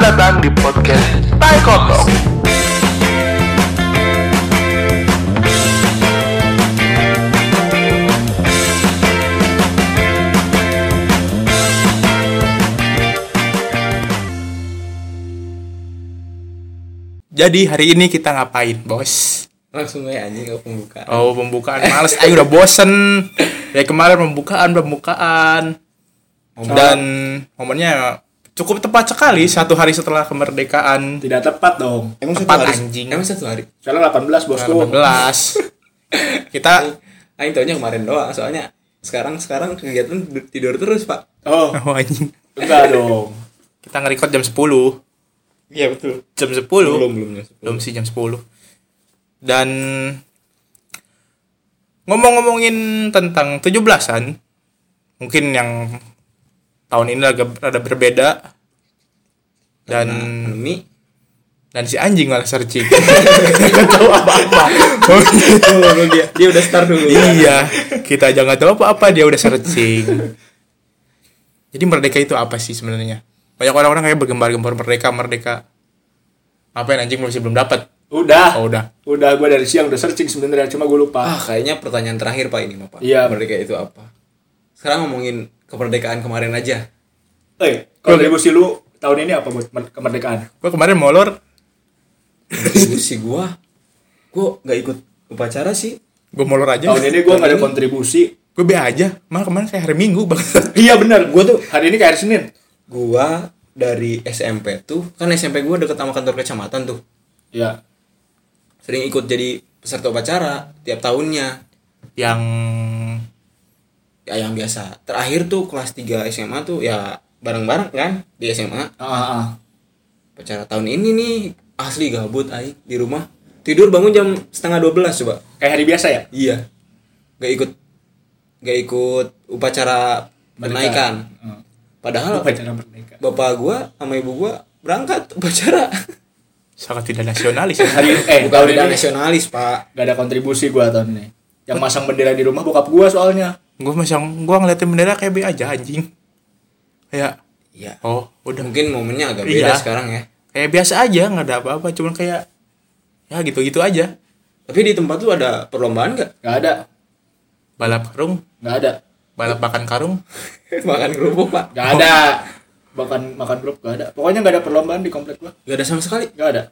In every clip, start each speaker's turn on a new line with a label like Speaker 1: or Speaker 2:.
Speaker 1: datang di podcast Tai Kotok.
Speaker 2: Jadi hari ini kita ngapain, Bos?
Speaker 3: langsung aja anjing ke pembukaan
Speaker 2: Oh, pembukaan males. Ayo udah bosen. Dari kemarin pembukaan, pembukaan. Dan momennya cukup tepat sekali satu hari setelah kemerdekaan
Speaker 4: Tidak tepat dong.
Speaker 3: emang
Speaker 2: tepat anjing
Speaker 3: emang satu hari
Speaker 4: Soalnya 18 bosku.
Speaker 2: 18. Kita
Speaker 3: Aing taunya Ah, kemarin doang soalnya sekarang sekarang kegiatan du- tidur terus pak
Speaker 4: Oh,
Speaker 2: oh, anjing.
Speaker 4: enggak dong.
Speaker 2: Kita nge-record jam 10.
Speaker 3: iya betul
Speaker 2: Jam 10.
Speaker 3: belum belum
Speaker 2: belum sih jam 10 dan ngomong-ngomongin tentang 17-an mungkin yang tahun ini agak rada berbeda
Speaker 3: Nah,
Speaker 2: dan
Speaker 3: ini
Speaker 2: dan si anjing malah searching Nggak tahu apa-apa
Speaker 3: dia dia udah start dulu
Speaker 2: iya kita aja nggak tahu apa-apa dia udah searching jadi merdeka itu apa sih sebenarnya banyak orang-orang kayak bergembar-gembar merdeka merdeka apa yang anjing masih belum dapat
Speaker 4: Udah.
Speaker 2: oh udah
Speaker 4: Udah gue dari siang udah searching sebenarnya cuma gue lupa.
Speaker 3: ah kayaknya pertanyaan terakhir pak ini mah pak
Speaker 4: Iya.
Speaker 3: merdeka itu apa sekarang ngomongin kemerdekaan kemarin aja
Speaker 4: Eh, kalau dari Gusi lu tahun ini apa buat mer- kemerdekaan?
Speaker 2: gua kemarin molor
Speaker 3: kontribusi gua gua nggak ikut upacara sih
Speaker 2: gue molor aja
Speaker 4: Tahun ini gue nggak ada kontribusi.
Speaker 2: gue be aja malah kemarin kayak hari minggu bang
Speaker 4: Iya benar, gue tuh hari ini kayak hari Senin.
Speaker 3: gua dari SMP tuh kan SMP gua deket sama kantor kecamatan tuh
Speaker 4: Iya.
Speaker 3: sering ikut jadi peserta upacara tiap tahunnya
Speaker 2: yang
Speaker 3: ya yang biasa terakhir tuh kelas 3 SMA tuh ya bareng-bareng kan di SMA
Speaker 4: Ah, ah, ah.
Speaker 3: pacara tahun ini nih asli gabut aing di rumah tidur bangun jam setengah 12 coba
Speaker 4: Kayak hari biasa ya?
Speaker 3: iya gak ikut gak ikut upacara penaikan
Speaker 4: Hmm.
Speaker 3: padahal
Speaker 4: Upacara merdeka.
Speaker 3: bapak gua sama ibu gua berangkat upacara
Speaker 2: sangat tidak nasionalis ya.
Speaker 4: Hari eh
Speaker 3: bukan
Speaker 4: tahun
Speaker 3: beda
Speaker 4: ini
Speaker 3: nasionalis pak
Speaker 4: nggak ada kontribusi gue tahun ini. Yang masang bendera di rumah bokap gue soalnya.
Speaker 2: gue masih gue ngeliatin bendera kayak be aja anjing kayak
Speaker 3: iya
Speaker 2: oh udah
Speaker 3: mungkin momennya agak
Speaker 2: Iya.
Speaker 3: beda sekarang ya
Speaker 2: kayak biasa aja nggak ada apa-apa cuman kayak ya gitu-gitu aja
Speaker 3: tapi di tempat lu ada perlombaan gak
Speaker 4: Nggak ada,
Speaker 2: balap karung
Speaker 4: nggak ada,
Speaker 2: balap makan karung
Speaker 3: makan kerupuk pak
Speaker 4: nggak ada. Bahkan makan grup nggak ada. Pokoknya nggak ada perlombaan di komplek gue.
Speaker 3: gak ada sama sekali
Speaker 4: Gak ada.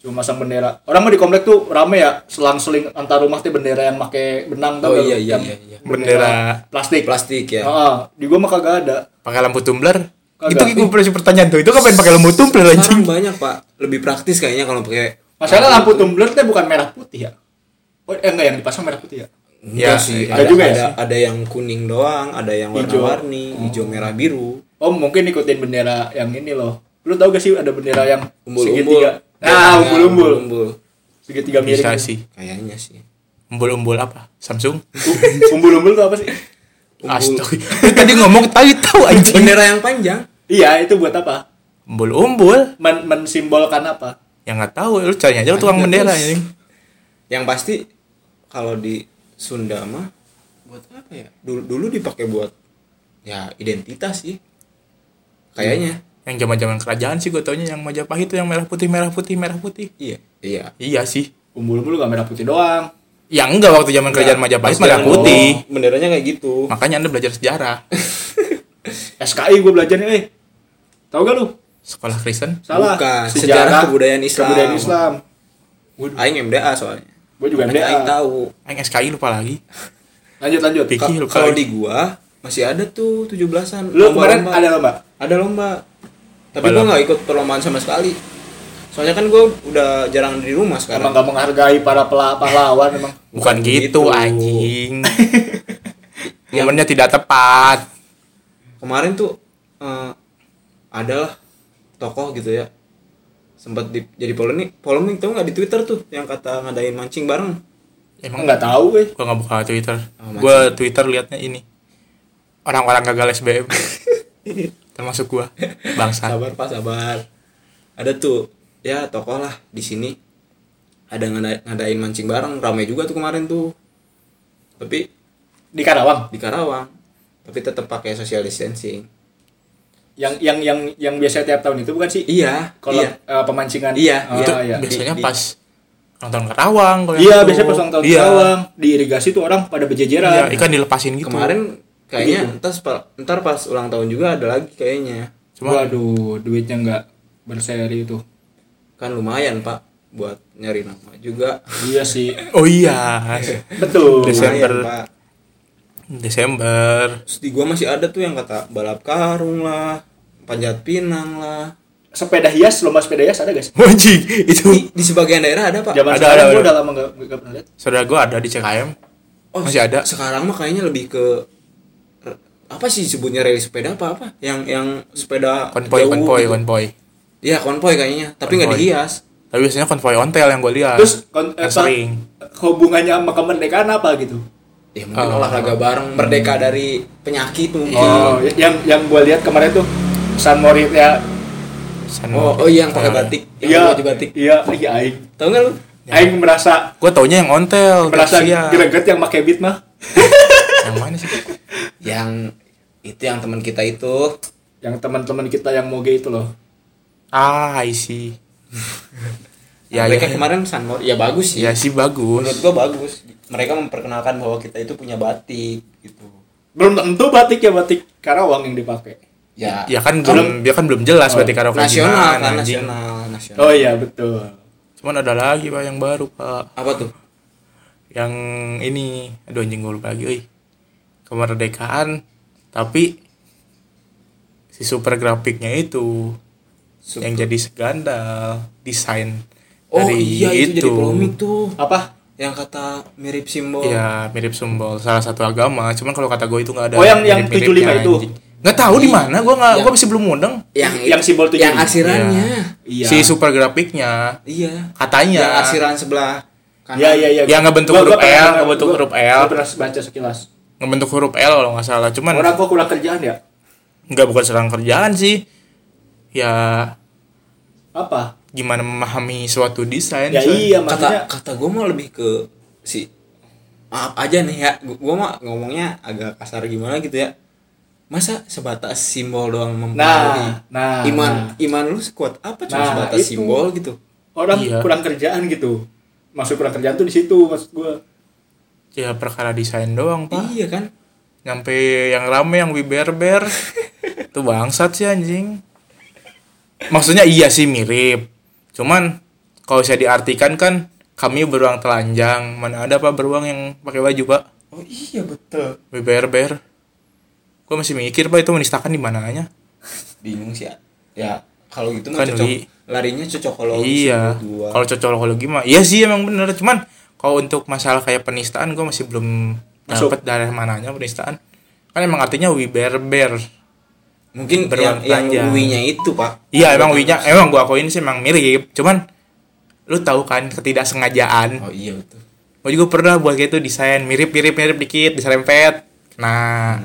Speaker 4: Cuma masang bendera. Orang mah di komplek tuh rame ya, selang-seling antar rumah tuh bendera yang pakai benang
Speaker 3: Oh,
Speaker 4: tau gak lu?
Speaker 3: iya, iya,
Speaker 4: Yang
Speaker 3: iya, iya.
Speaker 2: Bendera.
Speaker 4: plastik.
Speaker 3: plastik ya
Speaker 4: Heeh, di gua mah kagak ada.
Speaker 2: pakai lampu tumbler
Speaker 4: Kagak.
Speaker 2: itu gue punya pertanyaan tuh itu kapan pakai lampu tumbler
Speaker 3: Sekarang
Speaker 2: anjing
Speaker 3: banyak pak Lebih praktis kayaknya kalau pakai
Speaker 4: Masalah lampu tumbler teh bukan merah putih ya. Oh, eh enggak yang dipasang merah putih ya.
Speaker 2: Ya,
Speaker 3: Enggak sih
Speaker 2: ada
Speaker 3: ada,
Speaker 4: juga ya
Speaker 3: ada,
Speaker 4: sih.
Speaker 3: ada yang kuning doang Ada yang
Speaker 4: Hijau.
Speaker 3: warna-warni Hijau, merah, biru
Speaker 4: Oh, mungkin ikutin bendera yang ini loh. Lu tau gak sih ada bendera yang
Speaker 3: Umbul-umbul Iya,
Speaker 4: segitiga? Nah, umbul-umbul.
Speaker 3: umbul
Speaker 4: Segitiga miring.
Speaker 2: bisa sih
Speaker 3: Kayaknya sih
Speaker 2: umbul-umbul apa Samsung
Speaker 4: U- Umbul-umbul tuh apa sih?
Speaker 2: Astaga, tadi ngomong tai tahu anjing.
Speaker 3: Bendera yang panjang
Speaker 4: Iya, itu buat apa?
Speaker 2: Umbul-umbul,
Speaker 4: Men mensimbolkan apa?
Speaker 2: yang Ya, nggak tahu lu cari aja lu tukang
Speaker 3: Ada
Speaker 2: bendera
Speaker 3: terus.
Speaker 2: anjing.
Speaker 3: Yang pasti Kalau di Sunda mah Buat apa ya Dulu, dulu dipakai buat Ya identitas sih Kayaknya
Speaker 2: yang zaman-zaman kerajaan sih gue taunya yang Majapahit itu yang merah putih merah putih merah putih
Speaker 3: Iya Iya
Speaker 2: iya sih
Speaker 4: Umbul-umbul gak merah putih doang.
Speaker 2: yang enggak waktu zaman
Speaker 3: Iya.
Speaker 2: kerajaan Majapahit merah
Speaker 3: Jangan-
Speaker 2: putih
Speaker 3: oh, Benderanya kayak gitu
Speaker 2: makanya anda belajar sejarah
Speaker 4: SKI gue belajar nih, eh. Tahu gak lu?
Speaker 2: sekolah Kristen
Speaker 4: Salah.
Speaker 3: Bukan, sejarah kebudayaan Islam.
Speaker 4: Kebudayaan Islam. Waduh,
Speaker 3: Aing MDA soalnya
Speaker 4: gue juga
Speaker 3: Makanya Aing
Speaker 4: MDA.
Speaker 3: tahu
Speaker 2: yang SKI lupa lagi
Speaker 4: Lanjut lanjut.
Speaker 2: Pik.
Speaker 3: Ka-
Speaker 2: Ih, lupa
Speaker 3: kalau
Speaker 2: lagi.
Speaker 3: di gua masih ada tuh 17-an.
Speaker 4: Lu
Speaker 3: Lomba-
Speaker 4: kemarin
Speaker 3: lomba.
Speaker 4: ada lomba?
Speaker 3: ada lomba. Tapi
Speaker 2: Lomba.
Speaker 3: gua nggak ikut perlombaan sama sekali. Soalnya kan gua udah jarang di rumah
Speaker 4: Emang
Speaker 3: sekarang.
Speaker 4: gak menghargai para pela- pahlawan emang.
Speaker 2: bukan,
Speaker 3: Bukan
Speaker 2: gitu,
Speaker 3: gitu.
Speaker 2: anjing momennya tidak tepat
Speaker 3: Kemarin tuh eh, adalah tokoh gitu ya. Sempat di, jadi polemik, polemik tau nggak di Twitter tuh yang kata ngadain mancing bareng.
Speaker 2: emang
Speaker 4: Emang nggak tahu eh.
Speaker 2: gue nggak buka Twitter
Speaker 3: Oh, macam.
Speaker 2: gue Twitter liatnya ini orang-orang gagal SBM termasuk gue bangsa
Speaker 3: Sabar pak, sabar. Ada tuh ya tokoh lah di sini. Ada ngada- ngadain mancing bareng, ramai juga tuh kemarin tuh. Tapi
Speaker 4: Di Karawang.
Speaker 3: di Karawang tapi tetap pakai social distancing
Speaker 4: yang yang yang yang biasa tiap tahun itu bukan sih
Speaker 3: Iya,
Speaker 4: kalau
Speaker 3: iya.
Speaker 4: eh, pemancingan
Speaker 3: Iya,
Speaker 4: Ah,
Speaker 3: itu
Speaker 4: iya.
Speaker 2: biasanya
Speaker 3: Di- di-
Speaker 2: pas ulang tahun Karawang kalau yang
Speaker 4: Iya,
Speaker 2: itu.
Speaker 4: biasanya pas ulang tahun
Speaker 2: Iya.
Speaker 4: Karawang, di irigasi tuh orang pada
Speaker 2: Iya,
Speaker 4: berjejeran.
Speaker 2: ikan dilepasin gitu.
Speaker 3: kan. Kemarin kayaknya entar sepa- entar pas ulang tahun juga ada lagi kayaknya.
Speaker 2: Cuma-
Speaker 4: Waduh, duitnya nggak berseri itu.
Speaker 3: Kan lumayan, Pak, buat nyari nama juga.
Speaker 4: Iya sih.
Speaker 2: Oh iya.
Speaker 4: Betul.
Speaker 2: Desa- Desember.
Speaker 3: Lumayan, Pak.
Speaker 2: Desember.
Speaker 3: Terus di gua masih ada tuh yang kata balap karung lah, panjat pinang lah.
Speaker 4: Sepeda hias, lomba sepeda hias ada guys?
Speaker 2: Wajib
Speaker 3: Di,
Speaker 2: itu.
Speaker 3: di sebagian daerah ada, Pak.
Speaker 4: Zaman
Speaker 2: Ada,
Speaker 4: sekarang
Speaker 2: ada,
Speaker 4: gua
Speaker 2: ada.
Speaker 4: udah lama nggak nggak pernah lihat.
Speaker 2: Saudara gue ada di CKM.
Speaker 3: Oh,
Speaker 2: Masih ada.
Speaker 3: Sekarang mah kayaknya lebih ke re- apa sih sebutnya rally sepeda apa apa? Yang yang sepeda
Speaker 2: Konvoy,
Speaker 3: jauh
Speaker 2: konvoy,
Speaker 3: gitu.
Speaker 2: konvoy.
Speaker 3: Iya, konvoy kayaknya, tapi nggak
Speaker 2: Konvoy.
Speaker 3: dihias.
Speaker 2: Tapi biasanya konvoy ontel yang gue lihat.
Speaker 4: Terus kon-
Speaker 2: Yang Ah,
Speaker 4: eh,
Speaker 2: kan sering.
Speaker 4: hubungannya sama kemerdekaan apa gitu?
Speaker 3: Ya mungkin
Speaker 2: Oh. Hmm.
Speaker 3: olahraga bareng merdeka dari
Speaker 2: Iya.
Speaker 3: penyakit mungkin.
Speaker 4: Oh, y- yang yang gua lihat kemarin tuh San Morit ya.
Speaker 2: San-
Speaker 3: Oh, oh iya yang pakai
Speaker 2: Nah.
Speaker 3: batik, yang
Speaker 4: Iya,
Speaker 3: baju batik.
Speaker 4: Iya, iya aing.
Speaker 3: Tahu nggak lu?
Speaker 4: Aing merasa
Speaker 2: Gue taunya yang ontel.
Speaker 4: merasa
Speaker 2: Garcia.
Speaker 4: greget yang pakai beat mah.
Speaker 2: Yang mana sih?
Speaker 3: Yang itu yang teman kita itu.
Speaker 4: Yang teman-teman kita yang moge itu loh.
Speaker 2: Ah, I see. ya,
Speaker 3: mereka
Speaker 2: ya,
Speaker 3: kemarin Sanmor ya bagus sih.
Speaker 2: ya sih
Speaker 3: Menurut
Speaker 2: bagus.
Speaker 3: gua bagus. Mereka memperkenalkan bahwa kita itu punya batik gitu.
Speaker 4: Belum tentu batik ya batik Karawang yang dipakai.
Speaker 3: Ya.
Speaker 2: Ya kan belum, ya kan belum jelas
Speaker 4: Oh,
Speaker 2: berarti karaoke
Speaker 3: nasional
Speaker 2: gimana,
Speaker 3: kan
Speaker 2: anjing.
Speaker 3: nasional, nasional.
Speaker 4: Oh iya, betul.
Speaker 2: Cuman ada lagi pak yang baru pak.
Speaker 3: Apa tuh?
Speaker 2: Yang ini, aduh anjing gue lupa lagi. euy. Kemerdekaan, tapi si super grafiknya itu yang jadi segandal desain
Speaker 3: Oh
Speaker 2: dari
Speaker 3: iya itu, jadi polemik tuh.
Speaker 4: Apa?
Speaker 3: Yang kata mirip simbol.
Speaker 2: Iya mirip simbol salah satu agama. Cuman kalau kata gue itu nggak ada.
Speaker 4: Oh, yang- yang
Speaker 2: mirip-miripnya,
Speaker 4: 75 itu? iya.
Speaker 2: anjing. Nggak tahu di mana. Gue nggak. Gue masih belum mudeng.
Speaker 3: Yang
Speaker 4: Yang simbol tujuh
Speaker 3: Yang
Speaker 4: ini.
Speaker 3: asirannya.
Speaker 4: Iya. Ya,
Speaker 2: Si super grafiknya
Speaker 3: Iya.
Speaker 2: katanya.
Speaker 3: Yang asiran sebelah kanan.
Speaker 4: Iya, iya, iya.
Speaker 2: Yang ngebentuk
Speaker 4: Gua-
Speaker 2: huruf
Speaker 4: gua pernah-
Speaker 2: L, ngebentuk
Speaker 4: gua-
Speaker 2: huruf L.
Speaker 4: Gua pernah baca sekilas.
Speaker 2: ngebentuk huruf L kalau nggak salah. Cuman
Speaker 4: Orang kok kurang kerjaan ya?
Speaker 2: nggak bukan serang kerjaan sih. Ya
Speaker 4: Apa?
Speaker 2: gimana memahami suatu desain.
Speaker 4: Ya
Speaker 2: coy.
Speaker 4: iya, maksudnya
Speaker 3: Kata kata gue mah lebih ke si maaf aja nih ya. Gue mah ngomongnya agak kasar gimana gitu ya. Masa sebatas simbol doang mempengaruhi?
Speaker 4: Nah, nah,
Speaker 3: iman
Speaker 4: nah.
Speaker 3: iman lu sekuat apa cuma
Speaker 4: Nah,
Speaker 3: sebatas
Speaker 4: itu.
Speaker 3: simbol gitu?
Speaker 4: orang
Speaker 2: Iya.
Speaker 4: kurang kerjaan gitu. Masuk kurang kerjaan tuh di situ maksud gua.
Speaker 2: Ya perkara desain doang pak.
Speaker 3: Iya kan?
Speaker 2: Nyampe yang rame yang wiberber. Itu bangsat sih anjing. Maksudnya iya sih mirip. Cuman kalau saya diartikan kan kami beruang telanjang. Mana ada pak beruang yang pakai baju pak?
Speaker 3: Oh iya betul.
Speaker 2: Wiberber. Gue masih mikir pak itu menistakan di mananya.
Speaker 3: Bingung sih ya. Ya kalau gitu mah
Speaker 2: Kan
Speaker 3: cocok
Speaker 2: Wi.
Speaker 3: larinya cocokologi
Speaker 2: Iya.
Speaker 3: sih Oh, menurut gua.
Speaker 2: Kalau cocokologi mah iya sih emang bener. Cuman kalau untuk masalah kayak penistaan gue masih belum
Speaker 4: Masuk.
Speaker 2: dapat dari mananya penistaan. Kan emang artinya wiberber.
Speaker 3: mungkin yang
Speaker 2: beruang
Speaker 3: yang
Speaker 2: panjang.
Speaker 3: Wi-nya itu pak
Speaker 2: Iya emang winya emang gua akuin sih emang mirip. Cuman lu tahu kan ketidaksengajaan.
Speaker 3: oh iya betul
Speaker 2: Gua juga pernah buat gitu desain mirip-mirip mirip dikit diserempet. Nah,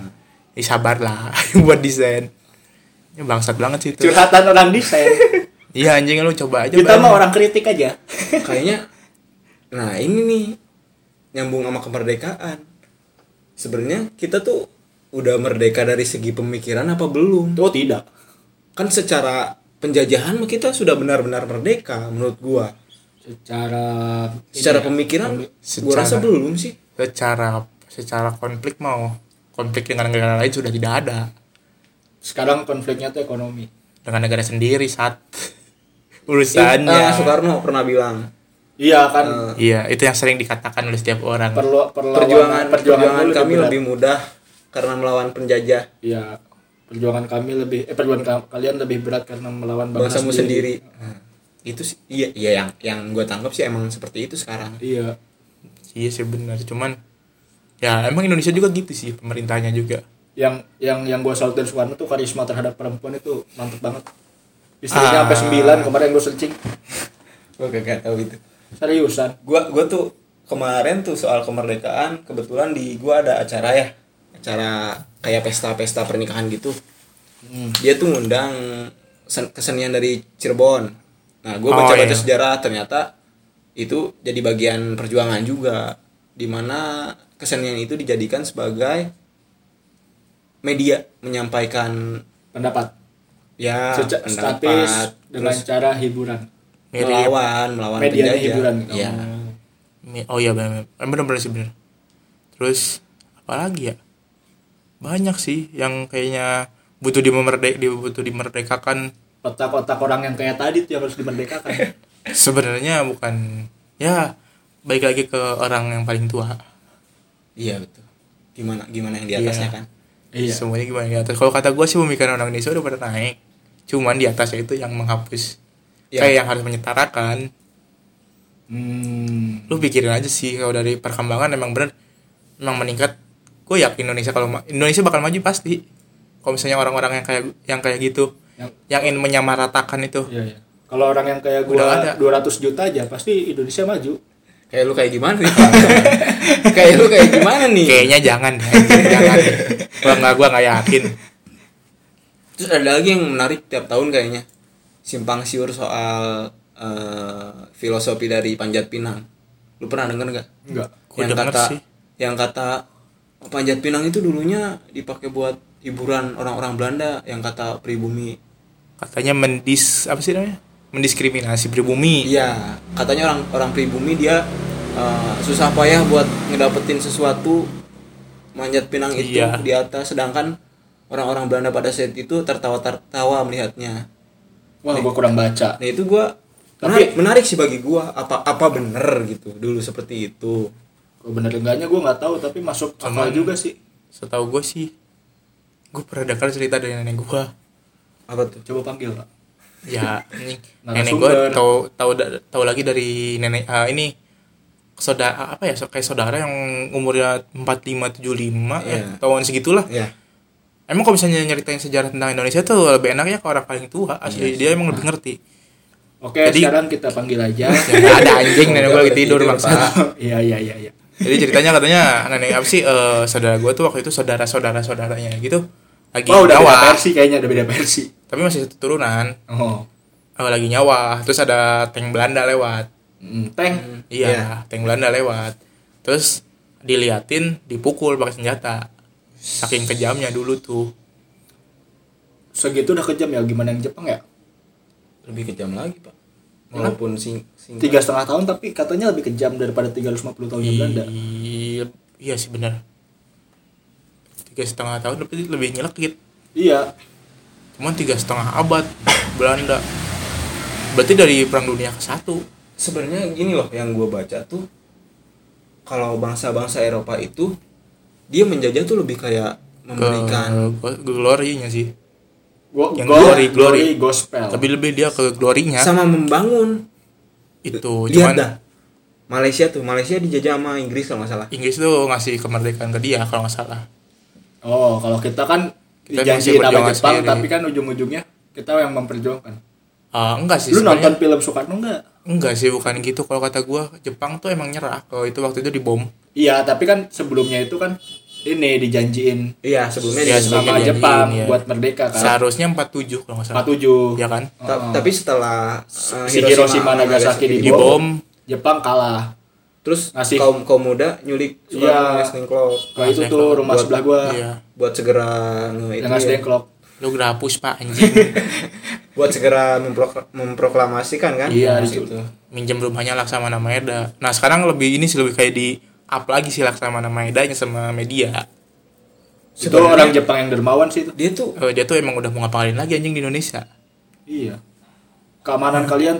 Speaker 2: disabar lah buat desain. Ini bangsat banget sih itu.
Speaker 4: Curhatan orang desain.
Speaker 2: Iya anjing lu coba aja.
Speaker 4: Kita
Speaker 2: Bang.
Speaker 4: mah orang kritik aja.
Speaker 3: kayaknya nah ini nih nyambung sama kemerdekaan sebenarnya kita tuh udah merdeka dari segi pemikiran apa belum
Speaker 4: Oh tidak.
Speaker 3: kan secara penjajahan mah kita sudah benar-benar merdeka menurut gua
Speaker 4: Secara
Speaker 3: secara pemikiran gua
Speaker 2: Secara-
Speaker 3: rasa belum sih
Speaker 2: secara secara konflik mau konflik dengan negara lain sudah tidak ada
Speaker 4: sekarang konfliknya tuh ekonomi.
Speaker 2: dengan negara sendiri saat
Speaker 3: Eh, ah,
Speaker 2: urusannya.
Speaker 3: Soekarno pernah bilang
Speaker 4: Iya kan
Speaker 3: eh,
Speaker 2: Iya, itu yang sering dikatakan oleh setiap orang.
Speaker 4: perlu perlawanan-
Speaker 3: perjuangan perjuangan
Speaker 4: dulu
Speaker 3: kami
Speaker 4: berat.
Speaker 3: lebih mudah karena melawan penjajah
Speaker 4: Iya. Perjuangan kami lebih eh perjuangan ka- kalian lebih berat karena melawan bangsa
Speaker 3: bangsamu sendiri. Nah, Itu sih iya iya yang yang gue tangkap sih emang seperti itu sekarang.
Speaker 4: Iya.
Speaker 2: Iya sih benar, cuman ya emang Indonesia juga gitu sih pemerintahnya juga.
Speaker 4: Yang yang yang gue salutin Soekarno tuh karisma terhadap perempuan itu mantep banget. Istrinya sampai sembilan kemarin gue searching
Speaker 3: Gue kagak tahu itu.
Speaker 4: seriusan.
Speaker 3: Gue gue tuh kemarin tuh soal kemerdekaan kebetulan di gue ada acara ya acara kayak pesta-pesta pernikahan gitu.
Speaker 4: Hmm.
Speaker 3: Dia tuh ngundang sen- kesenian dari Cirebon. Nah gue
Speaker 2: Oh,
Speaker 3: baca-baca
Speaker 2: iya.
Speaker 3: sejarah ternyata itu jadi bagian perjuangan juga dimana kesenian itu dijadikan sebagai media menyampaikan
Speaker 4: Pendapat.
Speaker 3: ya
Speaker 4: Seca-
Speaker 3: pendapat
Speaker 4: statis dengan
Speaker 3: terus
Speaker 4: cara hiburan.
Speaker 2: mirip
Speaker 3: melawan melawan
Speaker 4: Medianya
Speaker 3: penjajah.
Speaker 4: hiburan.
Speaker 3: Iya.
Speaker 2: Mi- oh iya benar benar benar sih benar terus apalagi ya banyak sih yang kayaknya butuh dimerdek di- butuh dimerdekakan
Speaker 4: Otak-otak orang yang kayak tadi tuh yang harus dimerdekakan.
Speaker 2: sebenarnya bukan ya baik lagi ke orang yang paling tua
Speaker 3: iya betul gimana gimana yang di atasnya
Speaker 2: Iya.
Speaker 3: kan
Speaker 4: iya.
Speaker 2: semuanya gimana di atas kalau kata gue sih pemikiran orang Indonesia udah pada naik cuman di atasnya itu yang menghapus
Speaker 3: Iya.
Speaker 2: kayak yang harus menyetarakan
Speaker 4: Hmm.
Speaker 2: lu pikirin aja sih kalau dari perkembangan emang bener emang meningkat gue yakin Indonesia kalau ma- Indonesia bakal maju pasti kalau misalnya orang-orang yang kayak yang kayak gitu
Speaker 4: Yang-
Speaker 2: yang ingin menyamaratakan itu
Speaker 4: Iya, iya. Kalau orang yang kayak
Speaker 2: Udah
Speaker 4: gua
Speaker 2: ada.
Speaker 4: 200 juta aja pasti Indonesia maju.
Speaker 3: kayak lu kayak gimana nih kayak lu kayak gimana nih
Speaker 2: kayaknya jangan deh, anjing, jangan kalau nggak gue nggak yakin
Speaker 3: Terus ada lagi yang menarik tiap tahun kayaknya simpang siur soal eh, filosofi dari Panjat Pinang. Lu pernah denger nggak?
Speaker 4: Enggak.
Speaker 2: Gua
Speaker 3: yang
Speaker 2: denger
Speaker 3: kata
Speaker 2: sih.
Speaker 3: yang kata Panjat Pinang itu dulunya dipakai buat hiburan orang-orang Belanda yang kata pribumi.
Speaker 2: katanya mendis apa sih namanya mendiskriminasi pribumi
Speaker 3: Iya, katanya orang orang pribumi dia eh, susah payah buat ngedapetin sesuatu Panjat Pinang itu
Speaker 2: Iya.
Speaker 3: di atas sedangkan orang-orang Belanda pada saat itu tertawa-tertawa melihatnya.
Speaker 4: Wah, gua kurang baca.
Speaker 3: Nah itu gua menarik,
Speaker 4: Tapi-
Speaker 3: menarik sih bagi gua apa apa bener gitu dulu seperti itu.
Speaker 4: Kalau bener enggaknya gua nggak tahu tapi masuk akal
Speaker 2: Cuman-
Speaker 4: juga sih.
Speaker 2: setahu gue sih gue pernah dengar cerita dari nenek gue
Speaker 3: Apa tuh?
Speaker 4: Coba panggil, Pak.
Speaker 2: ya anjing.
Speaker 4: Narasumber.
Speaker 2: nenek gue tahu tahu da- tahu lagi dari nenek ah, ini saudara apa ya so- kayak saudara yang umurnya 45 75 ya
Speaker 3: Iya.
Speaker 2: tahun segitulah
Speaker 3: Ya.
Speaker 2: emang kalau misalnya nyeritain sejarah tentang Indonesia tuh lebih enaknya ke orang paling tua
Speaker 4: Iya,
Speaker 2: asli dia emang lebih ngerti
Speaker 4: Oke,
Speaker 2: Jadi-
Speaker 4: sekarang kita panggil aja.
Speaker 2: ya nggak ada anjing nenek gue lagi
Speaker 3: Udah
Speaker 2: tidur
Speaker 3: tidur,
Speaker 2: maksa
Speaker 4: Iya, iya, iya, iya.
Speaker 2: jadi ceritanya katanya nenek apa sih eh, saudara gue tuh waktu itu saudara saudara saudaranya gitu lagi
Speaker 4: Wah, Oh, udah beda
Speaker 2: nyawa
Speaker 4: versi kayaknya, udah beda versi.
Speaker 2: tapi masih satu turunan
Speaker 4: Oh.
Speaker 2: Eh, lagi nyawa terus ada tank Belanda lewat
Speaker 4: Mm, Teng.
Speaker 2: Iya,
Speaker 3: Iya.
Speaker 2: tank Belanda lewat. Terus diliatin, dipukul pakai senjata. Saking kejamnya dulu tuh.
Speaker 4: Segitu udah kejam ya gimana yang Jepang ya?
Speaker 3: Lebih kejam lagi pak. Walaupun sing, sing
Speaker 4: Tiga setengah tahun tapi katanya lebih kejam daripada 350 tahunnya Oh, iya, Belanda.
Speaker 2: I- iya sih benar. Tiga setengah tahun lebih lebih nyelekit.
Speaker 4: Iya,
Speaker 2: Cuman tiga setengah abad Belanda. Berarti dari Perang Dunia ke satu.
Speaker 3: sebenarnya gini loh yang gua baca tuh kalau bangsa-bangsa Eropa itu dia menjajah tuh lebih kayak
Speaker 2: Ke
Speaker 3: memberikan
Speaker 2: ke glorinya sih.
Speaker 4: Go,
Speaker 2: Yang
Speaker 4: go-
Speaker 2: glory, glory.
Speaker 4: gospel.
Speaker 2: Lebih lebih dia ke
Speaker 4: Ya.
Speaker 2: glorinya
Speaker 3: sama membangun.
Speaker 4: Oh,
Speaker 2: itu.
Speaker 4: Iya,
Speaker 3: Lihat
Speaker 2: Cuman
Speaker 3: dah. Malaysia tuh Malaysia dijajah sama Inggris kalau nggak salah.
Speaker 2: Inggris tuh ngasih kemerdekaan ke dia kalau nggak salah.
Speaker 4: Oh, kalau kita kan
Speaker 2: Kita
Speaker 4: dijanjiin
Speaker 2: masih
Speaker 4: nama
Speaker 2: berjuang
Speaker 4: Jepang
Speaker 2: sendiri.
Speaker 4: tapi kan ujung-ujungnya kita yang memperjuangkan.
Speaker 2: Ah, enggak sih.
Speaker 4: Lu
Speaker 2: sebenarnya.
Speaker 4: nonton film Soekarno enggak?
Speaker 2: Enggak sih, bukan gitu. Kalau kata gua Jepang tuh emang nyerah. Kalau itu waktu itu dibom.
Speaker 4: Iya, tapi kan sebelumnya itu kan ini dijanjiin
Speaker 3: Iya sebelumnya
Speaker 2: Iya,
Speaker 3: dia-
Speaker 2: sebelumnya.
Speaker 4: sama
Speaker 2: dijanjiin,
Speaker 4: Jepang
Speaker 2: iya.
Speaker 4: buat merdeka kan.
Speaker 2: Seharusnya 47 kalau nggak salah.
Speaker 4: 47.
Speaker 2: Ya kan?
Speaker 3: Ta- Tapi setelah eh,
Speaker 4: Si Hiroshima, Nagasaki
Speaker 3: di-
Speaker 4: dibom.
Speaker 2: Dibom.
Speaker 4: Jepang kalah.
Speaker 3: terus
Speaker 4: Ngasih.
Speaker 3: kaum kaum muda nyulik
Speaker 4: Iya.
Speaker 3: Soekarno Klop
Speaker 4: Nah, itu
Speaker 2: saya
Speaker 4: tuh
Speaker 2: kalau
Speaker 4: rumah
Speaker 3: buat-
Speaker 4: sebelah gua.
Speaker 2: Iya.
Speaker 3: buat segera nge- itu
Speaker 4: Yang ngasih
Speaker 3: ya.
Speaker 4: dengklok.
Speaker 2: Lu gerapus, Pak, anjing.
Speaker 3: buat segera memprok- memproklamasikan kan
Speaker 4: Iya,
Speaker 3: Mas
Speaker 4: itu.
Speaker 3: itu
Speaker 2: Minjem rumahnya Laksamana Maeda. Nah, sekarang lebih ini sih lebih kayak di up lagi sih Laksamana Maedanya sama media.
Speaker 4: Itu orang Jepang yang dermawan sih itu.
Speaker 3: dia tuh
Speaker 2: Eh, dia tuh emang udah mau ngapain lagi anjing di Indonesia.
Speaker 4: Iya. Keamanan kalian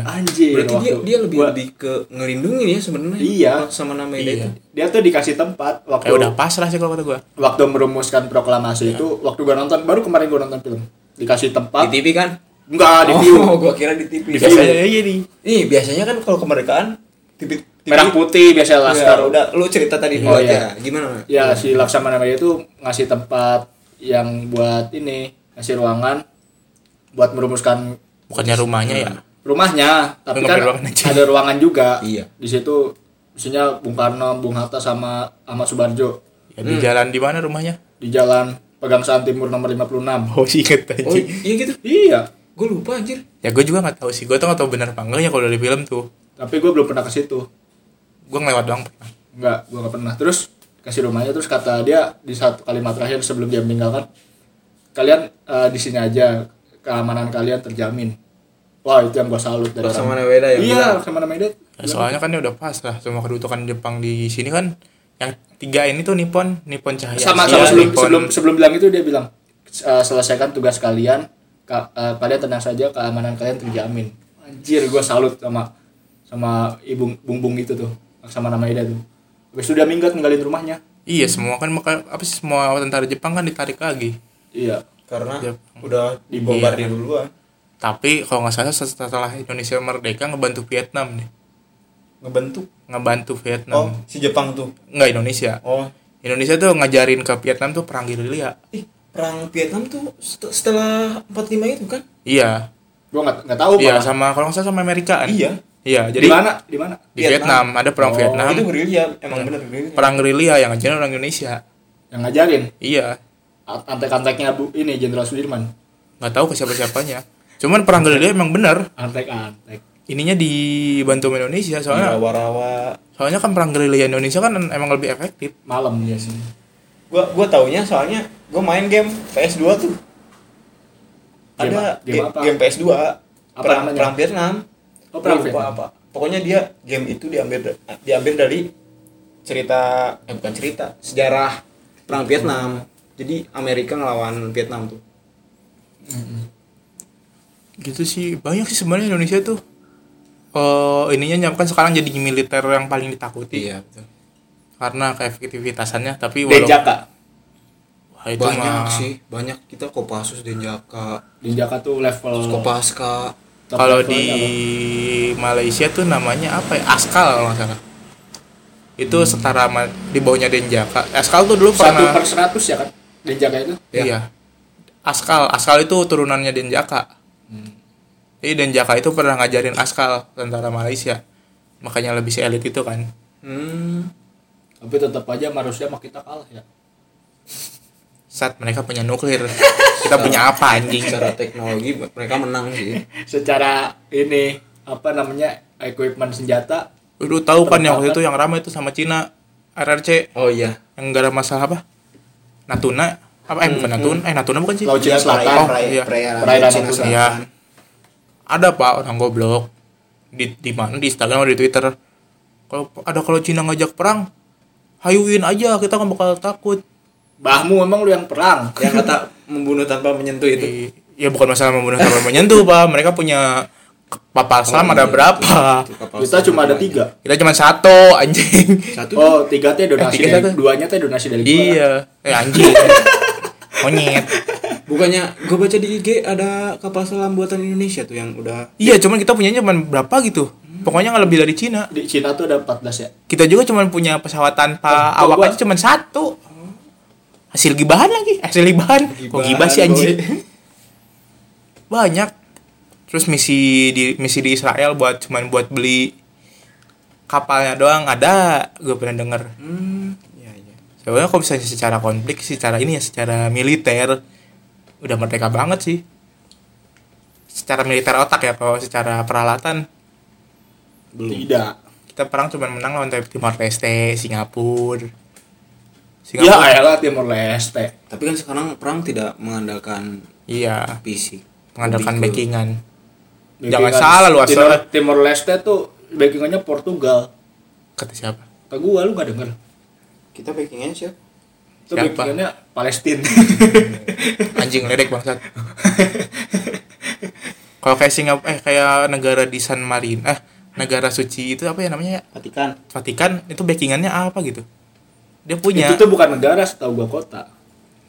Speaker 2: Iya.
Speaker 4: Anjir.
Speaker 3: berarti dia
Speaker 4: waktu
Speaker 3: dia lebih
Speaker 4: gua-
Speaker 3: lebih ke ngerindungin ya sebenarnya
Speaker 4: Iya.
Speaker 3: sama nama
Speaker 2: Iya.
Speaker 3: itu
Speaker 4: dia tuh dikasih tempat waktu
Speaker 2: Kayak Eh, udah Iya. pasrah sih kalau kata gua.
Speaker 4: waktu merumuskan proklamasi itu waktu gua nonton baru kemarin gua nonton film dikasih
Speaker 3: di
Speaker 4: tempat
Speaker 3: TV kan
Speaker 4: enggak di view
Speaker 3: oh gua kira di TV
Speaker 2: Biasanya aja nih.
Speaker 3: nih biasanya kan kalau kemerdekaan TV, TV
Speaker 4: merah putih
Speaker 2: Iya,
Speaker 4: biasa
Speaker 3: Laskar
Speaker 4: laskar
Speaker 3: Iya, udah lu cerita tadi dulu
Speaker 4: Oh, iya.
Speaker 3: aja gimana Mas?
Speaker 4: ya si laksamana Madia itu ngasih tempat yang buat ini ngasih ruangan buat merumuskan
Speaker 2: Bukannya rumahnya ya.
Speaker 4: Hmm. rumahnya tapi
Speaker 2: Nggak
Speaker 4: kan
Speaker 2: beli ruangan aja.
Speaker 4: ada ruangan juga
Speaker 3: Iya.
Speaker 4: di situ isinya Bung Karno Bung Hatta sama Ahmad Subarjo
Speaker 2: Ya di jalan di mana rumahnya?
Speaker 4: di jalan Pegangsaan Timur nomor 56
Speaker 2: Oh, sih inget
Speaker 3: oh
Speaker 2: anjing.
Speaker 3: iya gitu
Speaker 4: iya
Speaker 3: gua lupa anjir
Speaker 2: Ya gua juga nggak tahu sih. Gua tuh nggak tahu benar apa enggaknya kalau dari film tuh.
Speaker 4: tapi gue belum pernah ke situ
Speaker 2: Gua ngelewat doang pernah.
Speaker 4: Enggak, gua gak pernah. Terus kasih rumahnya terus kan, kata dia di satu kalimat terakhir sebelum dia meninggalkan kalian eh, di sini aja keamanan kalian terjamin wah itu yang gua salut dari
Speaker 3: Laksamana
Speaker 4: orang.
Speaker 3: Weda yang
Speaker 4: iya
Speaker 3: bilang.
Speaker 4: Laksamana Weda
Speaker 2: Ya, soalnya kan ya udah pas lah sama kedudukan Jepang di sini kan yang tiga ini tuh Nippon Nippon Cahaya
Speaker 4: sama
Speaker 2: Asia,
Speaker 4: sama sebelum
Speaker 2: Nippon-
Speaker 4: sebelum sebelum bilang itu dia bilang "Eh, selesaikan tugas kalian Ka- eh, kalian tenang saja keamanan kalian terjamin anjir gua salut sama sama ibu bung bung itu tuh Laksamana Maeda tuh habis itu dia minggat ninggalin rumahnya
Speaker 2: iya semua kan maka apa sih semua tentara Jepang kan ditarik lagi
Speaker 4: iya
Speaker 3: karena
Speaker 2: Yep.
Speaker 3: udah dibombardir duluan
Speaker 2: tapi kalau nggak salah setelah Indonesia merdeka ngebantu Vietnam nih
Speaker 3: ngebentuk
Speaker 2: ngebantu
Speaker 4: Nah.
Speaker 3: oh
Speaker 2: Vietnam
Speaker 3: si Jepang tuh
Speaker 2: nggak Indonesia
Speaker 3: oh
Speaker 2: Indonesia tuh ngajarin ke Vietnam tuh perang gerilya
Speaker 3: ih perang Vietnam tuh set- setelah 45 itu kan
Speaker 2: iya
Speaker 4: gua nggak nggak tahu
Speaker 2: iya
Speaker 4: malah.
Speaker 2: sama kalau nggak salah sama Amerika kan?
Speaker 3: Iya.
Speaker 2: iya
Speaker 4: Oh, di
Speaker 2: jadi
Speaker 4: mana di mana
Speaker 2: di Vietnam. ada perang
Speaker 4: Oh,
Speaker 2: Vietnam
Speaker 3: Nah, itu gerilya
Speaker 4: Iya.
Speaker 3: emang bener gerilya
Speaker 2: perang gerilya yang ngajarin orang Indonesia
Speaker 4: yang ngajarin
Speaker 2: iya
Speaker 4: a- antek-anteknya bu ini Jenderal Sudirman
Speaker 2: nggak tahu ke siapa siapanya cuman perang gerilya emang bener
Speaker 4: antek-antek
Speaker 2: ininya dibantu sama Indonesia
Speaker 3: Iya,
Speaker 2: soalnya
Speaker 3: rawa-rawa
Speaker 2: soalnya kan perang gerilya Indonesia kan emang lebih efektif
Speaker 4: malam ya sih
Speaker 3: gua gua taunya soalnya gua main game PS2 tuh
Speaker 4: Game
Speaker 3: ada
Speaker 4: a- game
Speaker 3: game,
Speaker 4: apa?
Speaker 3: game PS2
Speaker 4: Apa
Speaker 3: perang,
Speaker 4: namanya?
Speaker 3: perang Vietnam
Speaker 4: Oh, perang
Speaker 3: Gua lupa
Speaker 4: Vietnam.
Speaker 3: apa pokoknya dia game itu diambil da- diambil dari cerita eh bukan cerita sejarah perang Vietnam jadi Amerika ngelawan Vietnam tuh
Speaker 2: gitu sih banyak sih sebenarnya Indonesia tuh eh ininya nyamkan sekarang jadi militer yang paling ditakuti
Speaker 3: Iya, betul
Speaker 2: karena keefektivitasannya tapi walau
Speaker 4: Denjaka
Speaker 2: Wah, itu
Speaker 3: banyak
Speaker 2: mah
Speaker 3: sih banyak kita Kopassus Denjaka
Speaker 4: Denjaka tuh level
Speaker 3: Kopaska
Speaker 4: top
Speaker 2: kalau
Speaker 4: level
Speaker 2: di
Speaker 4: apa?
Speaker 2: Malaysia tuh namanya apa ya askal kalau nggak salah itu setara ma- di bawahnya denjaka askal tuh dulu
Speaker 4: satu
Speaker 2: pernah
Speaker 4: per seratus ya kan Denjaka itu
Speaker 3: Ya.
Speaker 2: iya askal askal itu turunannya denjaka jadi denjaka itu pernah ngajarin askal tentara Malaysia makanya lebih si elit itu kan
Speaker 3: hmm
Speaker 4: tapi tetap aja sama Rusia sama kita kalah ya
Speaker 2: saat mereka punya nuklir kita punya apa anjing
Speaker 3: secara teknologi mereka menang sih
Speaker 4: secara ini apa namanya equipment senjata
Speaker 2: lu tahu kan yang waktu itu yang ramai itu sama Cina RRC
Speaker 3: oh iya
Speaker 2: yang gara masalah apa Natuna apa eh bukan Natuna eh Natuna bukan sih
Speaker 4: Laut Cina
Speaker 3: Iya,
Speaker 4: Selatan.
Speaker 2: Oh, iya.
Speaker 4: Perairan
Speaker 3: Cina
Speaker 4: Natuna.
Speaker 3: Selatan.
Speaker 2: Iya. Ada pak orang goblok di di mana di Instagram atau di Twitter. Kalau ada kalau Cina ngajak perang, hayuin aja kita nggak bakal takut.
Speaker 4: bahmu emang lu yang perang
Speaker 3: yang kata membunuh tanpa menyentuh itu
Speaker 2: Di- ya bukan masalah membunuh tanpa menyentuh pak. Mereka punya ke- kapal selam ada berapa?
Speaker 4: kita cuma ada tiga
Speaker 2: Kita cuma satu anjing.
Speaker 3: satu ya.
Speaker 4: oh tiga teh donasi
Speaker 2: tiga satu.
Speaker 4: dari duanya teh donasi dari gua.
Speaker 2: iya. Eh anjing. Monyet.
Speaker 3: bukannya gue baca di IG ada kapal selam buatan Indonesia tuh yang udah
Speaker 2: Iya cuman kita punyanya cuma berapa gitu. Pokoknya nggak lebih dari Cina.
Speaker 4: di Cina tuh ada 14 ya
Speaker 2: kita juga cuma punya pesawat tanpa
Speaker 4: Oh,
Speaker 2: awak
Speaker 4: gua-
Speaker 2: aja cuma satu hasil gibahan lagi hasil gibahan kok
Speaker 3: Gibahan,
Speaker 2: gibah sih anjing
Speaker 3: boy.
Speaker 2: banyak terus misi di misi di Israel buat cuman buat beli kapalnya doang ada gue pernah denger
Speaker 3: hmm iya iya
Speaker 2: sebenarnya kok bisa secara konflik secara ini ya secara militer udah merdeka banget sih secara militer otak ya kalau secara peralatan
Speaker 3: belum
Speaker 4: tidak
Speaker 2: kita perang cuma menang lawan Timor Leste Singapura
Speaker 4: ya ayolah Timor Leste
Speaker 3: tapi kan sekarang perang tidak mengandalkan
Speaker 2: Iya,
Speaker 3: fisik
Speaker 2: mengandalkan
Speaker 3: Lebih ke-
Speaker 2: backingan.
Speaker 4: Backingan
Speaker 2: Jangan salah lu asal.
Speaker 4: Timor, Timor Leste tuh backingannya Portugal
Speaker 2: Kata siapa?
Speaker 4: kata gua lu gak denger
Speaker 3: kita backingnya sih
Speaker 4: itu
Speaker 2: Siapa? Hmm.
Speaker 4: backingannya Palestina
Speaker 2: Anjing ledek bangsat. Kalau kayak Singapura eh kayak negara di San Marino, eh negara suci itu apa ya namanya ya?
Speaker 3: Vatikan
Speaker 2: Vatikan itu backingannya apa gitu? Dia punya
Speaker 4: itu tuh bukan negara setahu gua kota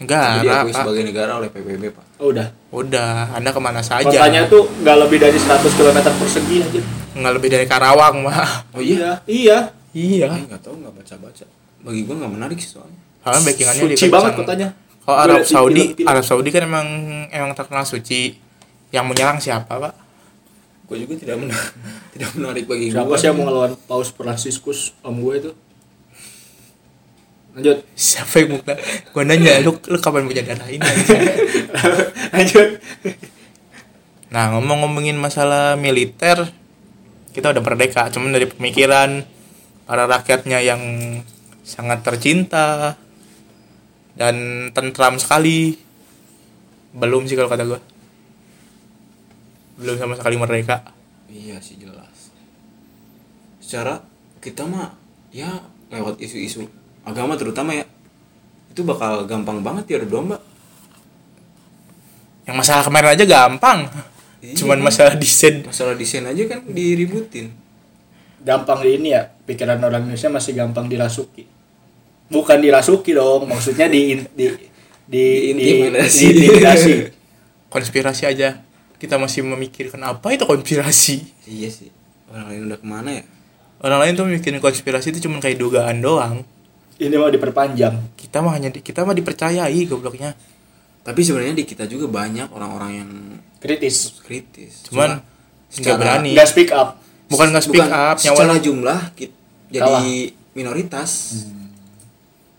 Speaker 3: jadi
Speaker 2: negara,
Speaker 3: diakui
Speaker 2: Pak.
Speaker 3: sebagai negara oleh PBB pak
Speaker 4: oh, udah
Speaker 2: Udah, Anda kemana saja?
Speaker 4: kotanya tuh gak lebih dari 100 km persegi aja
Speaker 2: Iya. Nggak lebih dari Karawang, Pak.
Speaker 3: oh iya
Speaker 4: iya
Speaker 2: Iya.
Speaker 3: nggak tahu nggak baca baca bagi gue nggak menarik sih soalnya
Speaker 2: Soalnya Kan backingannya
Speaker 4: suci
Speaker 2: dikencang.
Speaker 4: banget kotanya
Speaker 2: Kalau Arab
Speaker 4: Gua liat di
Speaker 2: Saudi,
Speaker 4: film-film.
Speaker 2: Arab Saudi kan emang emang terkenal suci. Yang menyerang siapa, Pak?
Speaker 3: gue juga tidak menarik tidak menarik bagi gue
Speaker 4: siapa sih yang mau ngelawan Paus Franciscus om gue itu lanjut
Speaker 2: Siapa yang muka? Gua nanya, lu, lu kapan punya darah ini?
Speaker 4: lanjut
Speaker 2: Nah ngomong-ngomongin masalah militer Kita udah merdeka Cuman dari pemikiran Para rakyatnya yang sangat tercinta Dan tentram sekali Belum sih kalau kata gue belum sama sekali merdeka
Speaker 3: Iya sih jelas. Secara kita mah ya lewat isu-isu agama terutama ya itu bakal gampang banget ya adu domba.
Speaker 2: yang masalah kemarin aja gampang
Speaker 3: Iya.
Speaker 2: cuman masalah desain
Speaker 3: Masalah desain aja kan diributin.
Speaker 4: gampang di ini ya pikiran orang Indonesia masih gampang dirasuki bukan dirasuki dong maksudnya di di di
Speaker 3: Diintimidasi.
Speaker 4: di- diintimidasi.
Speaker 2: konspirasi aja kita masih memikirkan apa itu konspirasi
Speaker 3: Iya sih. Orang lain udah kemana ya?
Speaker 2: orang lain tuh bikin konspirasi itu cuman kayak dugaan doang
Speaker 4: ini mau diperpanjang
Speaker 2: kita mah hanya di- kita mah dipercayai gobloknya
Speaker 3: Tapi sebenarnya di kita juga banyak orang-orang yang
Speaker 4: kritis
Speaker 3: kritis.
Speaker 2: cuman nggak
Speaker 3: secara-
Speaker 2: berani
Speaker 4: nggak speak up
Speaker 2: bukan nggak speak
Speaker 3: Bukan,
Speaker 2: up nyawa
Speaker 3: secara jumlah kita jadi
Speaker 4: Kalah.
Speaker 3: minoritas. Hmm.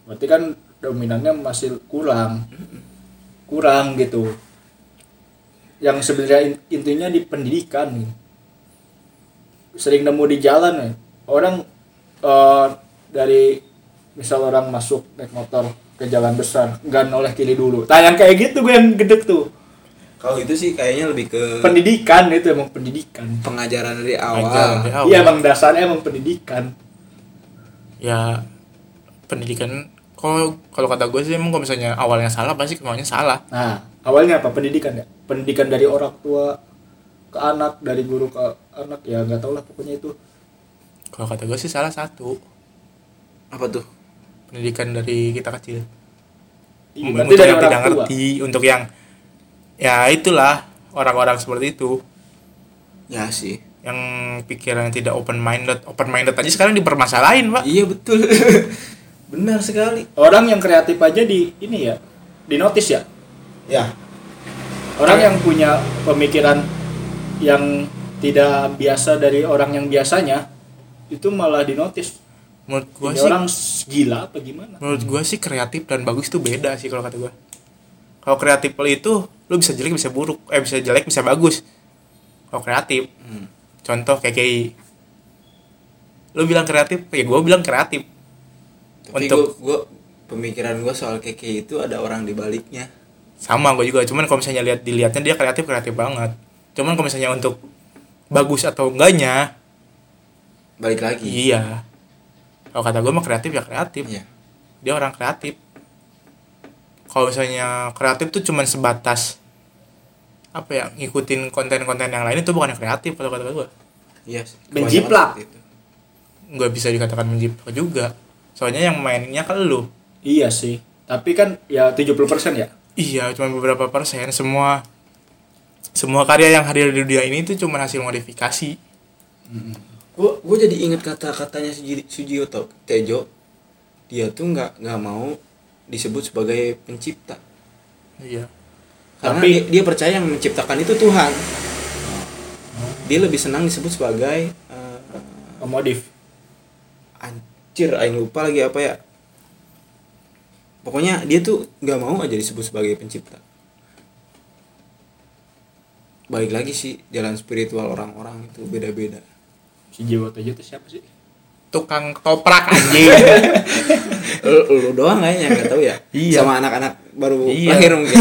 Speaker 4: berarti kan dominannya masih kurang kurang gitu yang sebenarnya in- intinya di pendidikan nih sering nemu di jalan nih orang eh, dari misal orang masuk naik motor ke jalan besar nggak noleh kiri dulu tangan kayak gitu gue yang gede tuh
Speaker 3: Kalau itu sih kayaknya lebih ke
Speaker 4: pendidikan itu emang pendidikan
Speaker 3: pengajaran dari awal.
Speaker 2: Ajaran dari awal.
Speaker 4: iya emang dasarnya emang pendidikan
Speaker 2: ya pendidikan kalau kalau kata gue sih emang kalau misalnya awalnya salah pasti kemauannya salah
Speaker 4: Nah, awalnya apa pendidikan ya? Pendidikan dari orang tua ke anak, dari guru ke anak ya nggak tau lah pokoknya itu.
Speaker 2: kalau kata gue sih salah satu
Speaker 3: Apa tuh?
Speaker 2: pendidikan dari kita kecil
Speaker 4: Iya,
Speaker 2: M-
Speaker 4: berarti
Speaker 2: untuk
Speaker 4: dari
Speaker 2: yang
Speaker 4: orang
Speaker 2: tidak
Speaker 4: tua.
Speaker 2: ngerti untuk yang ya itulah orang-orang seperti itu
Speaker 3: Ya sih.
Speaker 2: yang pikirannya tidak open minded open minded aja sekarang dipermasalahin pak
Speaker 3: Iya betul. Benar sekali.
Speaker 4: Orang yang kreatif aja di ini ya, di notice ya.
Speaker 3: Ya.
Speaker 4: Orang yang punya pemikiran yang tidak biasa dari orang yang biasanya itu malah di notice.
Speaker 2: menurut gue
Speaker 4: Ini
Speaker 2: sih
Speaker 4: orang s- gila apa gimana?
Speaker 2: menurut gue sih kreatif dan bagus tuh beda sih kalau kata gue kalau kreatif lo itu lo bisa jelek bisa buruk eh bisa jelek bisa bagus kalau kreatif
Speaker 3: Hmm.
Speaker 2: contoh kayak KKI lo bilang kreatif ya gue bilang kreatif
Speaker 3: Tapi
Speaker 2: Untuk-
Speaker 3: gua, gua- pemikiran gua soal keke itu ada orang di baliknya.
Speaker 2: sama gue juga cuman kalau misalnya lihat dilihatnya dia kreatif kreatif banget cuman kalau misalnya untuk bagus atau enggaknya
Speaker 3: Balik lagi.
Speaker 2: iya kalau kata gue mah kreatif ya kreatif
Speaker 3: Hmm. Iya.
Speaker 2: dia orang kreatif kalau misalnya kreatif tuh cuman sebatas apa ya ngikutin konten-konten yang lain itu bukan yang kreatif kalau kata gue
Speaker 3: Iya. sih. Kebanyakan
Speaker 4: Menjiplak.
Speaker 3: seperti itu.
Speaker 2: nggak bisa dikatakan menjiplak juga soalnya yang mainnya kan lu
Speaker 4: Iya sih. Tapi kan ya 70% ya.
Speaker 2: iya cuma beberapa persen semua semua karya yang hadir di dunia ini itu cuma hasil modifikasi
Speaker 3: Gua gua jadi inget kata-katanya Suji, Sujiyoto Tejo. Dia tuh nggak nggak mau disebut sebagai pencipta.
Speaker 2: iya
Speaker 3: Karena
Speaker 4: Tapi-
Speaker 3: dia, dia percaya yang menciptakan itu Tuhan. Dia lebih senang disebut sebagai eh,
Speaker 4: Komodif.
Speaker 3: anjir aing lupa lagi apa ya pokoknya dia tuh nggak mau aja disebut sebagai pencipta balik lagi sih jalan spiritual orang-orang itu beda-beda
Speaker 4: Si Jiwoto aja itu siapa sih?
Speaker 2: tukang toprak anjing
Speaker 4: Eh,
Speaker 3: Lu- lu doang kayaknya nggak tahu ya
Speaker 2: Iya.
Speaker 3: sama anak-anak baru
Speaker 2: Iya.
Speaker 3: lahir mungkin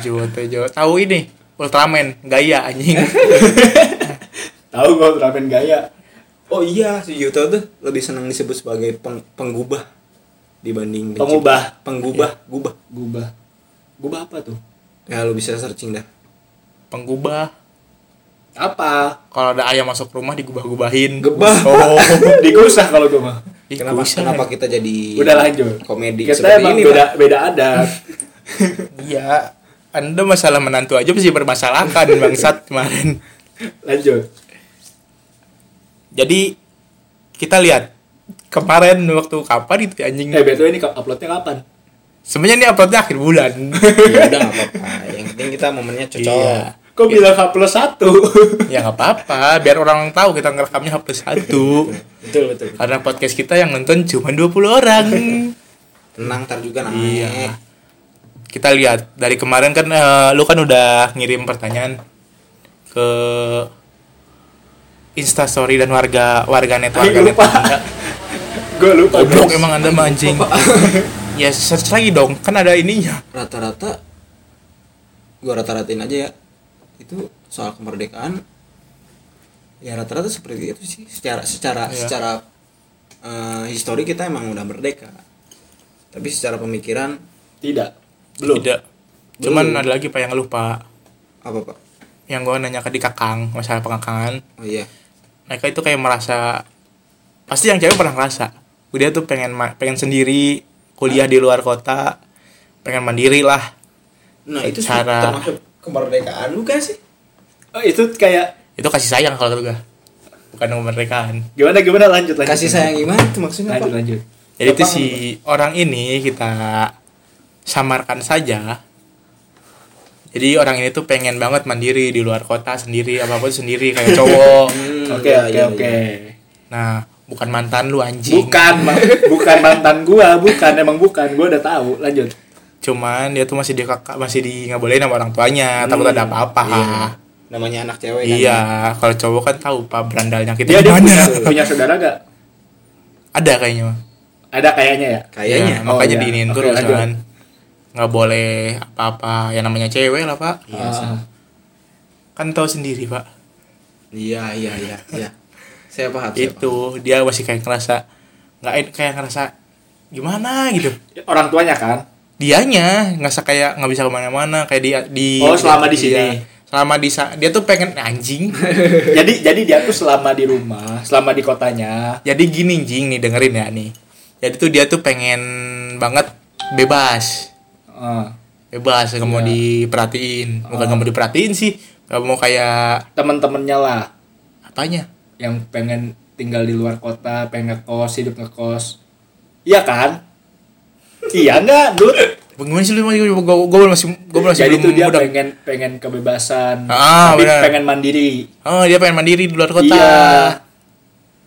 Speaker 2: Jawa Tejo tahu ini Ultraman gaya anjing
Speaker 4: Tahu gua ramen gaya.
Speaker 3: oh iya si Yuto tuh lebih senang disebut sebagai peng- penggubah dibanding pencipta.
Speaker 4: Pengubah.
Speaker 3: penggubah
Speaker 4: Iya.
Speaker 3: gubah
Speaker 4: Gubah. Gubah apa tuh?
Speaker 3: ya lu bisa searching dah
Speaker 2: penggubah
Speaker 4: Apa?
Speaker 2: kalau ada ayam masuk rumah digubah-gubahin
Speaker 3: Gebah.
Speaker 2: oh
Speaker 4: digusah kalau gue mah
Speaker 2: Ih,
Speaker 3: kenapa
Speaker 2: kusah.
Speaker 3: kenapa kita jadi
Speaker 4: ya. udah lanjut
Speaker 3: komedi
Speaker 4: kita
Speaker 3: seperti
Speaker 4: emang
Speaker 3: ini
Speaker 4: beda beda adat
Speaker 2: Iya, Anda masalah menantu aja masih bermasalahkan bangsat kemarin.
Speaker 4: lanjut
Speaker 2: Jadi kita lihat kemarin waktu kapan itu anjing.
Speaker 3: Hmm.
Speaker 4: eh betul ini uploadnya kapan
Speaker 2: Sebenarnya ini uploadnya akhir bulan.
Speaker 3: ya udah nggak apa-apa yang penting kita momennya cocok
Speaker 2: Iya.
Speaker 4: kok bilang upload satu
Speaker 2: Ya nggak apa-apa, biar orang tahu kita ngerekamnya HP satu.
Speaker 3: betul betul
Speaker 2: Karena podcast kita yang nonton cuma 20 orang.
Speaker 3: tenang ntar juga naik
Speaker 2: Iya. Kita lihat dari kemarin kan eh, lu kan udah ngirim pertanyaan ke Instastory dan warga warganet
Speaker 4: Ay,
Speaker 2: warganet
Speaker 4: lupa.
Speaker 2: Anda.
Speaker 4: gue lupa
Speaker 2: Goblok
Speaker 4: guys.
Speaker 2: emang anda mancing. ya search lagi dong, kan ada ininya.
Speaker 3: rata-rata gua rata-ratain aja ya itu soal kemerdekaan ya rata-rata seperti itu sih secara secara
Speaker 2: Iya.
Speaker 3: secara eh, histori kita emang udah merdeka tapi secara pemikiran
Speaker 4: Tidak. Belum.
Speaker 2: Tidak. Cuman ada lagi Pak yang lupa.
Speaker 3: apa pak
Speaker 2: Yang gue nanya ke di kakang, masalah pengakangan.
Speaker 3: oh iya
Speaker 2: Mereka itu kayak merasa... Pasti yang cewek pernah ngerasa. Dia tuh pengen ma- pengen sendiri, kuliah di luar kota, pengen mandiri lah.
Speaker 3: nah itu sih
Speaker 2: Secara-
Speaker 3: termasuk kemerdekaan bukan sih
Speaker 4: Oh, itu kayak
Speaker 2: Itu kasih sayang kalau kata gue. Bukan kan. kemerdekaan.
Speaker 4: gimana gimana lanjut lanjut.
Speaker 3: kasih sayang gimana tuh maksudnya
Speaker 4: Lanjut
Speaker 3: pak
Speaker 4: lanjut.
Speaker 2: Jadi itu
Speaker 3: Apa?
Speaker 2: si orang ini kita samarkan saja. Jadi orang ini tuh pengen banget mandiri di luar kota sendiri, apapun sendiri kayak cowok.
Speaker 3: Hmm,
Speaker 4: Oke
Speaker 3: iya,
Speaker 4: oke
Speaker 3: iya,
Speaker 4: oke.
Speaker 3: iya.
Speaker 2: Nah, bukan mantan lu anjing.
Speaker 4: Bukan, Bang. bukan mantan gua, bukan emang bukan. Gua udah tahu. Lanjut.
Speaker 2: Cuman dia tuh masih di kakak masih di nggak boleh sama orang
Speaker 4: Hmm.
Speaker 2: tuanya, takut ada apa-apa.
Speaker 3: Iya. namanya anak cewek kan?
Speaker 2: Iya, kalau cowok kan tahu pak berandalnya kita
Speaker 4: Dia Iya, dia
Speaker 2: gimana.
Speaker 4: punya, punya saudara gak?
Speaker 2: Ada kayaknya. mah.
Speaker 4: Ada kayaknya ya.
Speaker 3: kayaknya
Speaker 2: Ya, makanya
Speaker 4: Oh, iya.
Speaker 2: diinin
Speaker 4: Oke,
Speaker 2: terus
Speaker 4: lanjut.
Speaker 2: kan. Nggak boleh apa-apa, ya namanya cewek lah pak. Iya,
Speaker 4: Ah,
Speaker 2: Kan tahu sendiri pak.
Speaker 3: iya iya iya iya saya paham saya paham.
Speaker 2: itu dia masih kayak ngerasa nggak en- kayak ngerasa gimana gitu
Speaker 4: orang tuanya kan?
Speaker 2: dianya ngerasa kayak nggak bisa kemana-mana kayak dia di
Speaker 4: Oh, selama di
Speaker 2: dia-
Speaker 4: sini.
Speaker 2: selama di sa- dia tuh pengen "Nah, anjing
Speaker 4: jadi jadi dia tuh selama di rumah, selama di kotanya,
Speaker 2: jadi gini jing nih dengerin ya nih jadi tuh dia tuh pengen banget bebas
Speaker 4: eh,
Speaker 2: bebas nggak
Speaker 4: Iya.
Speaker 2: mau diperhatiin bukan
Speaker 4: Oh.
Speaker 2: nggak mau diperhatiin sih nggak mau kayak
Speaker 4: teman-temannya lah
Speaker 2: apanya
Speaker 4: yang pengen tinggal di luar kota, pengen ngekos, hidup ngekos. Iya kan? iya enggak, Dut?
Speaker 2: gimana sih lu gue gue masih gue masih
Speaker 4: Jadi
Speaker 2: belum
Speaker 4: tuh dia
Speaker 2: muda.
Speaker 4: pengen pengen kebebasan,
Speaker 2: Ah,
Speaker 4: tapi
Speaker 2: benar.
Speaker 4: pengen mandiri.
Speaker 2: oh dia pengen mandiri di luar kota
Speaker 4: Iya.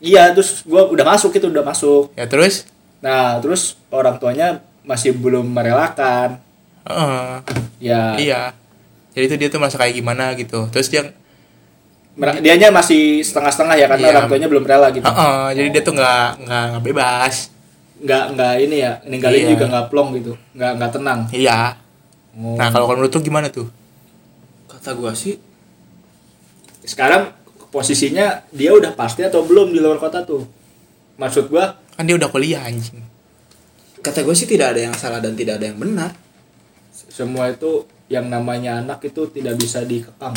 Speaker 4: Iya, terus gua udah masuk itu udah masuk.
Speaker 2: ya terus
Speaker 4: Nah, terus orang tuanya masih belum merelakan.
Speaker 2: Heeh.
Speaker 4: Ya,
Speaker 2: Iya. Jadi itu dia tuh merasa kayak gimana gitu. Terus dia
Speaker 4: mer- dianya masih setengah-setengah ya karena
Speaker 2: Iya.
Speaker 4: orang tuanya belum rela gitu.
Speaker 2: Heeh, jadi dia tuh nggak nggak nggak bebas.
Speaker 4: nggak nggak ini ya ninggalin
Speaker 2: Iya.
Speaker 4: juga nggak plong gitu nggak nggak tenang Hmm.
Speaker 2: Iya. Nah, kalau kalau menurut tuh gimana tuh?
Speaker 3: kata gua sih
Speaker 4: sekarang posisinya dia udah pasti atau belum di luar kota tuh maksud gua
Speaker 2: Kan dia udah kuliah anjing.
Speaker 3: kata gua sih tidak ada yang salah dan tidak ada yang benar
Speaker 4: se- semua itu yang namanya anak itu tidak bisa dikekang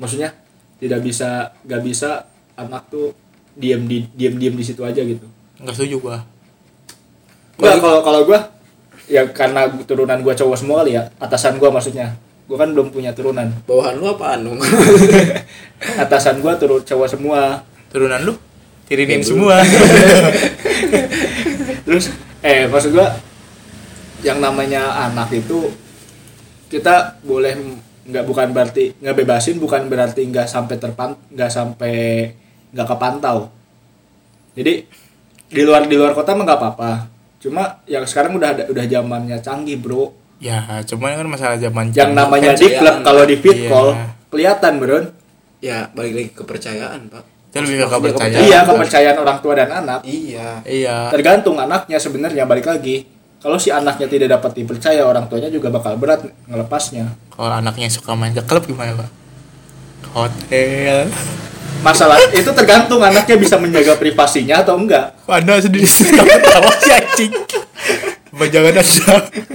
Speaker 4: maksudnya tidak bisa nggak bisa anak tuh diam di diam diam di situ aja gitu
Speaker 2: Enggak setuju gua.
Speaker 4: Nggak, kalau kalau gua ya karena turunan gua cowok semua kali ya atasan gua maksudnya gua kan belum punya turunan
Speaker 3: bawahan lu apaan dong
Speaker 4: atasan gua turun cowok semua
Speaker 2: Turunan lu tirinin
Speaker 4: Iya,
Speaker 2: semua.
Speaker 4: terus eh maksud gua yang namanya anak itu kita boleh nggak bukan berarti nggak bebasin bukan berarti nggak sampai terpan nggak sampai nggak kepantau jadi di luar di luar kota mah nggak apa-apa cuma yang sekarang udah ada- udah zamannya canggih bro
Speaker 2: ya, cuman kan masalah zaman
Speaker 4: yang namanya di klub kalau di fit
Speaker 2: Iya.
Speaker 4: call kelihatan bro
Speaker 3: ya balik lagi kepercayaan pak
Speaker 2: Itu lebih ke kepercayaan.
Speaker 4: iya kepercayaan orang tua dan anak
Speaker 3: iya
Speaker 2: Iya.
Speaker 4: tergantung anaknya sebenarnya balik lagi kalau si anaknya tidak dapat dipercaya orang tuanya juga bakal berat ngelepasnya
Speaker 2: Kalau anaknya suka main ke klub gimana, Pak? Ke Hotel.
Speaker 4: masalah itu tergantung anaknya bisa menjaga privasinya atau enggak
Speaker 2: Anda sendiri suka ketawa sih anjing. Bajangan Anda.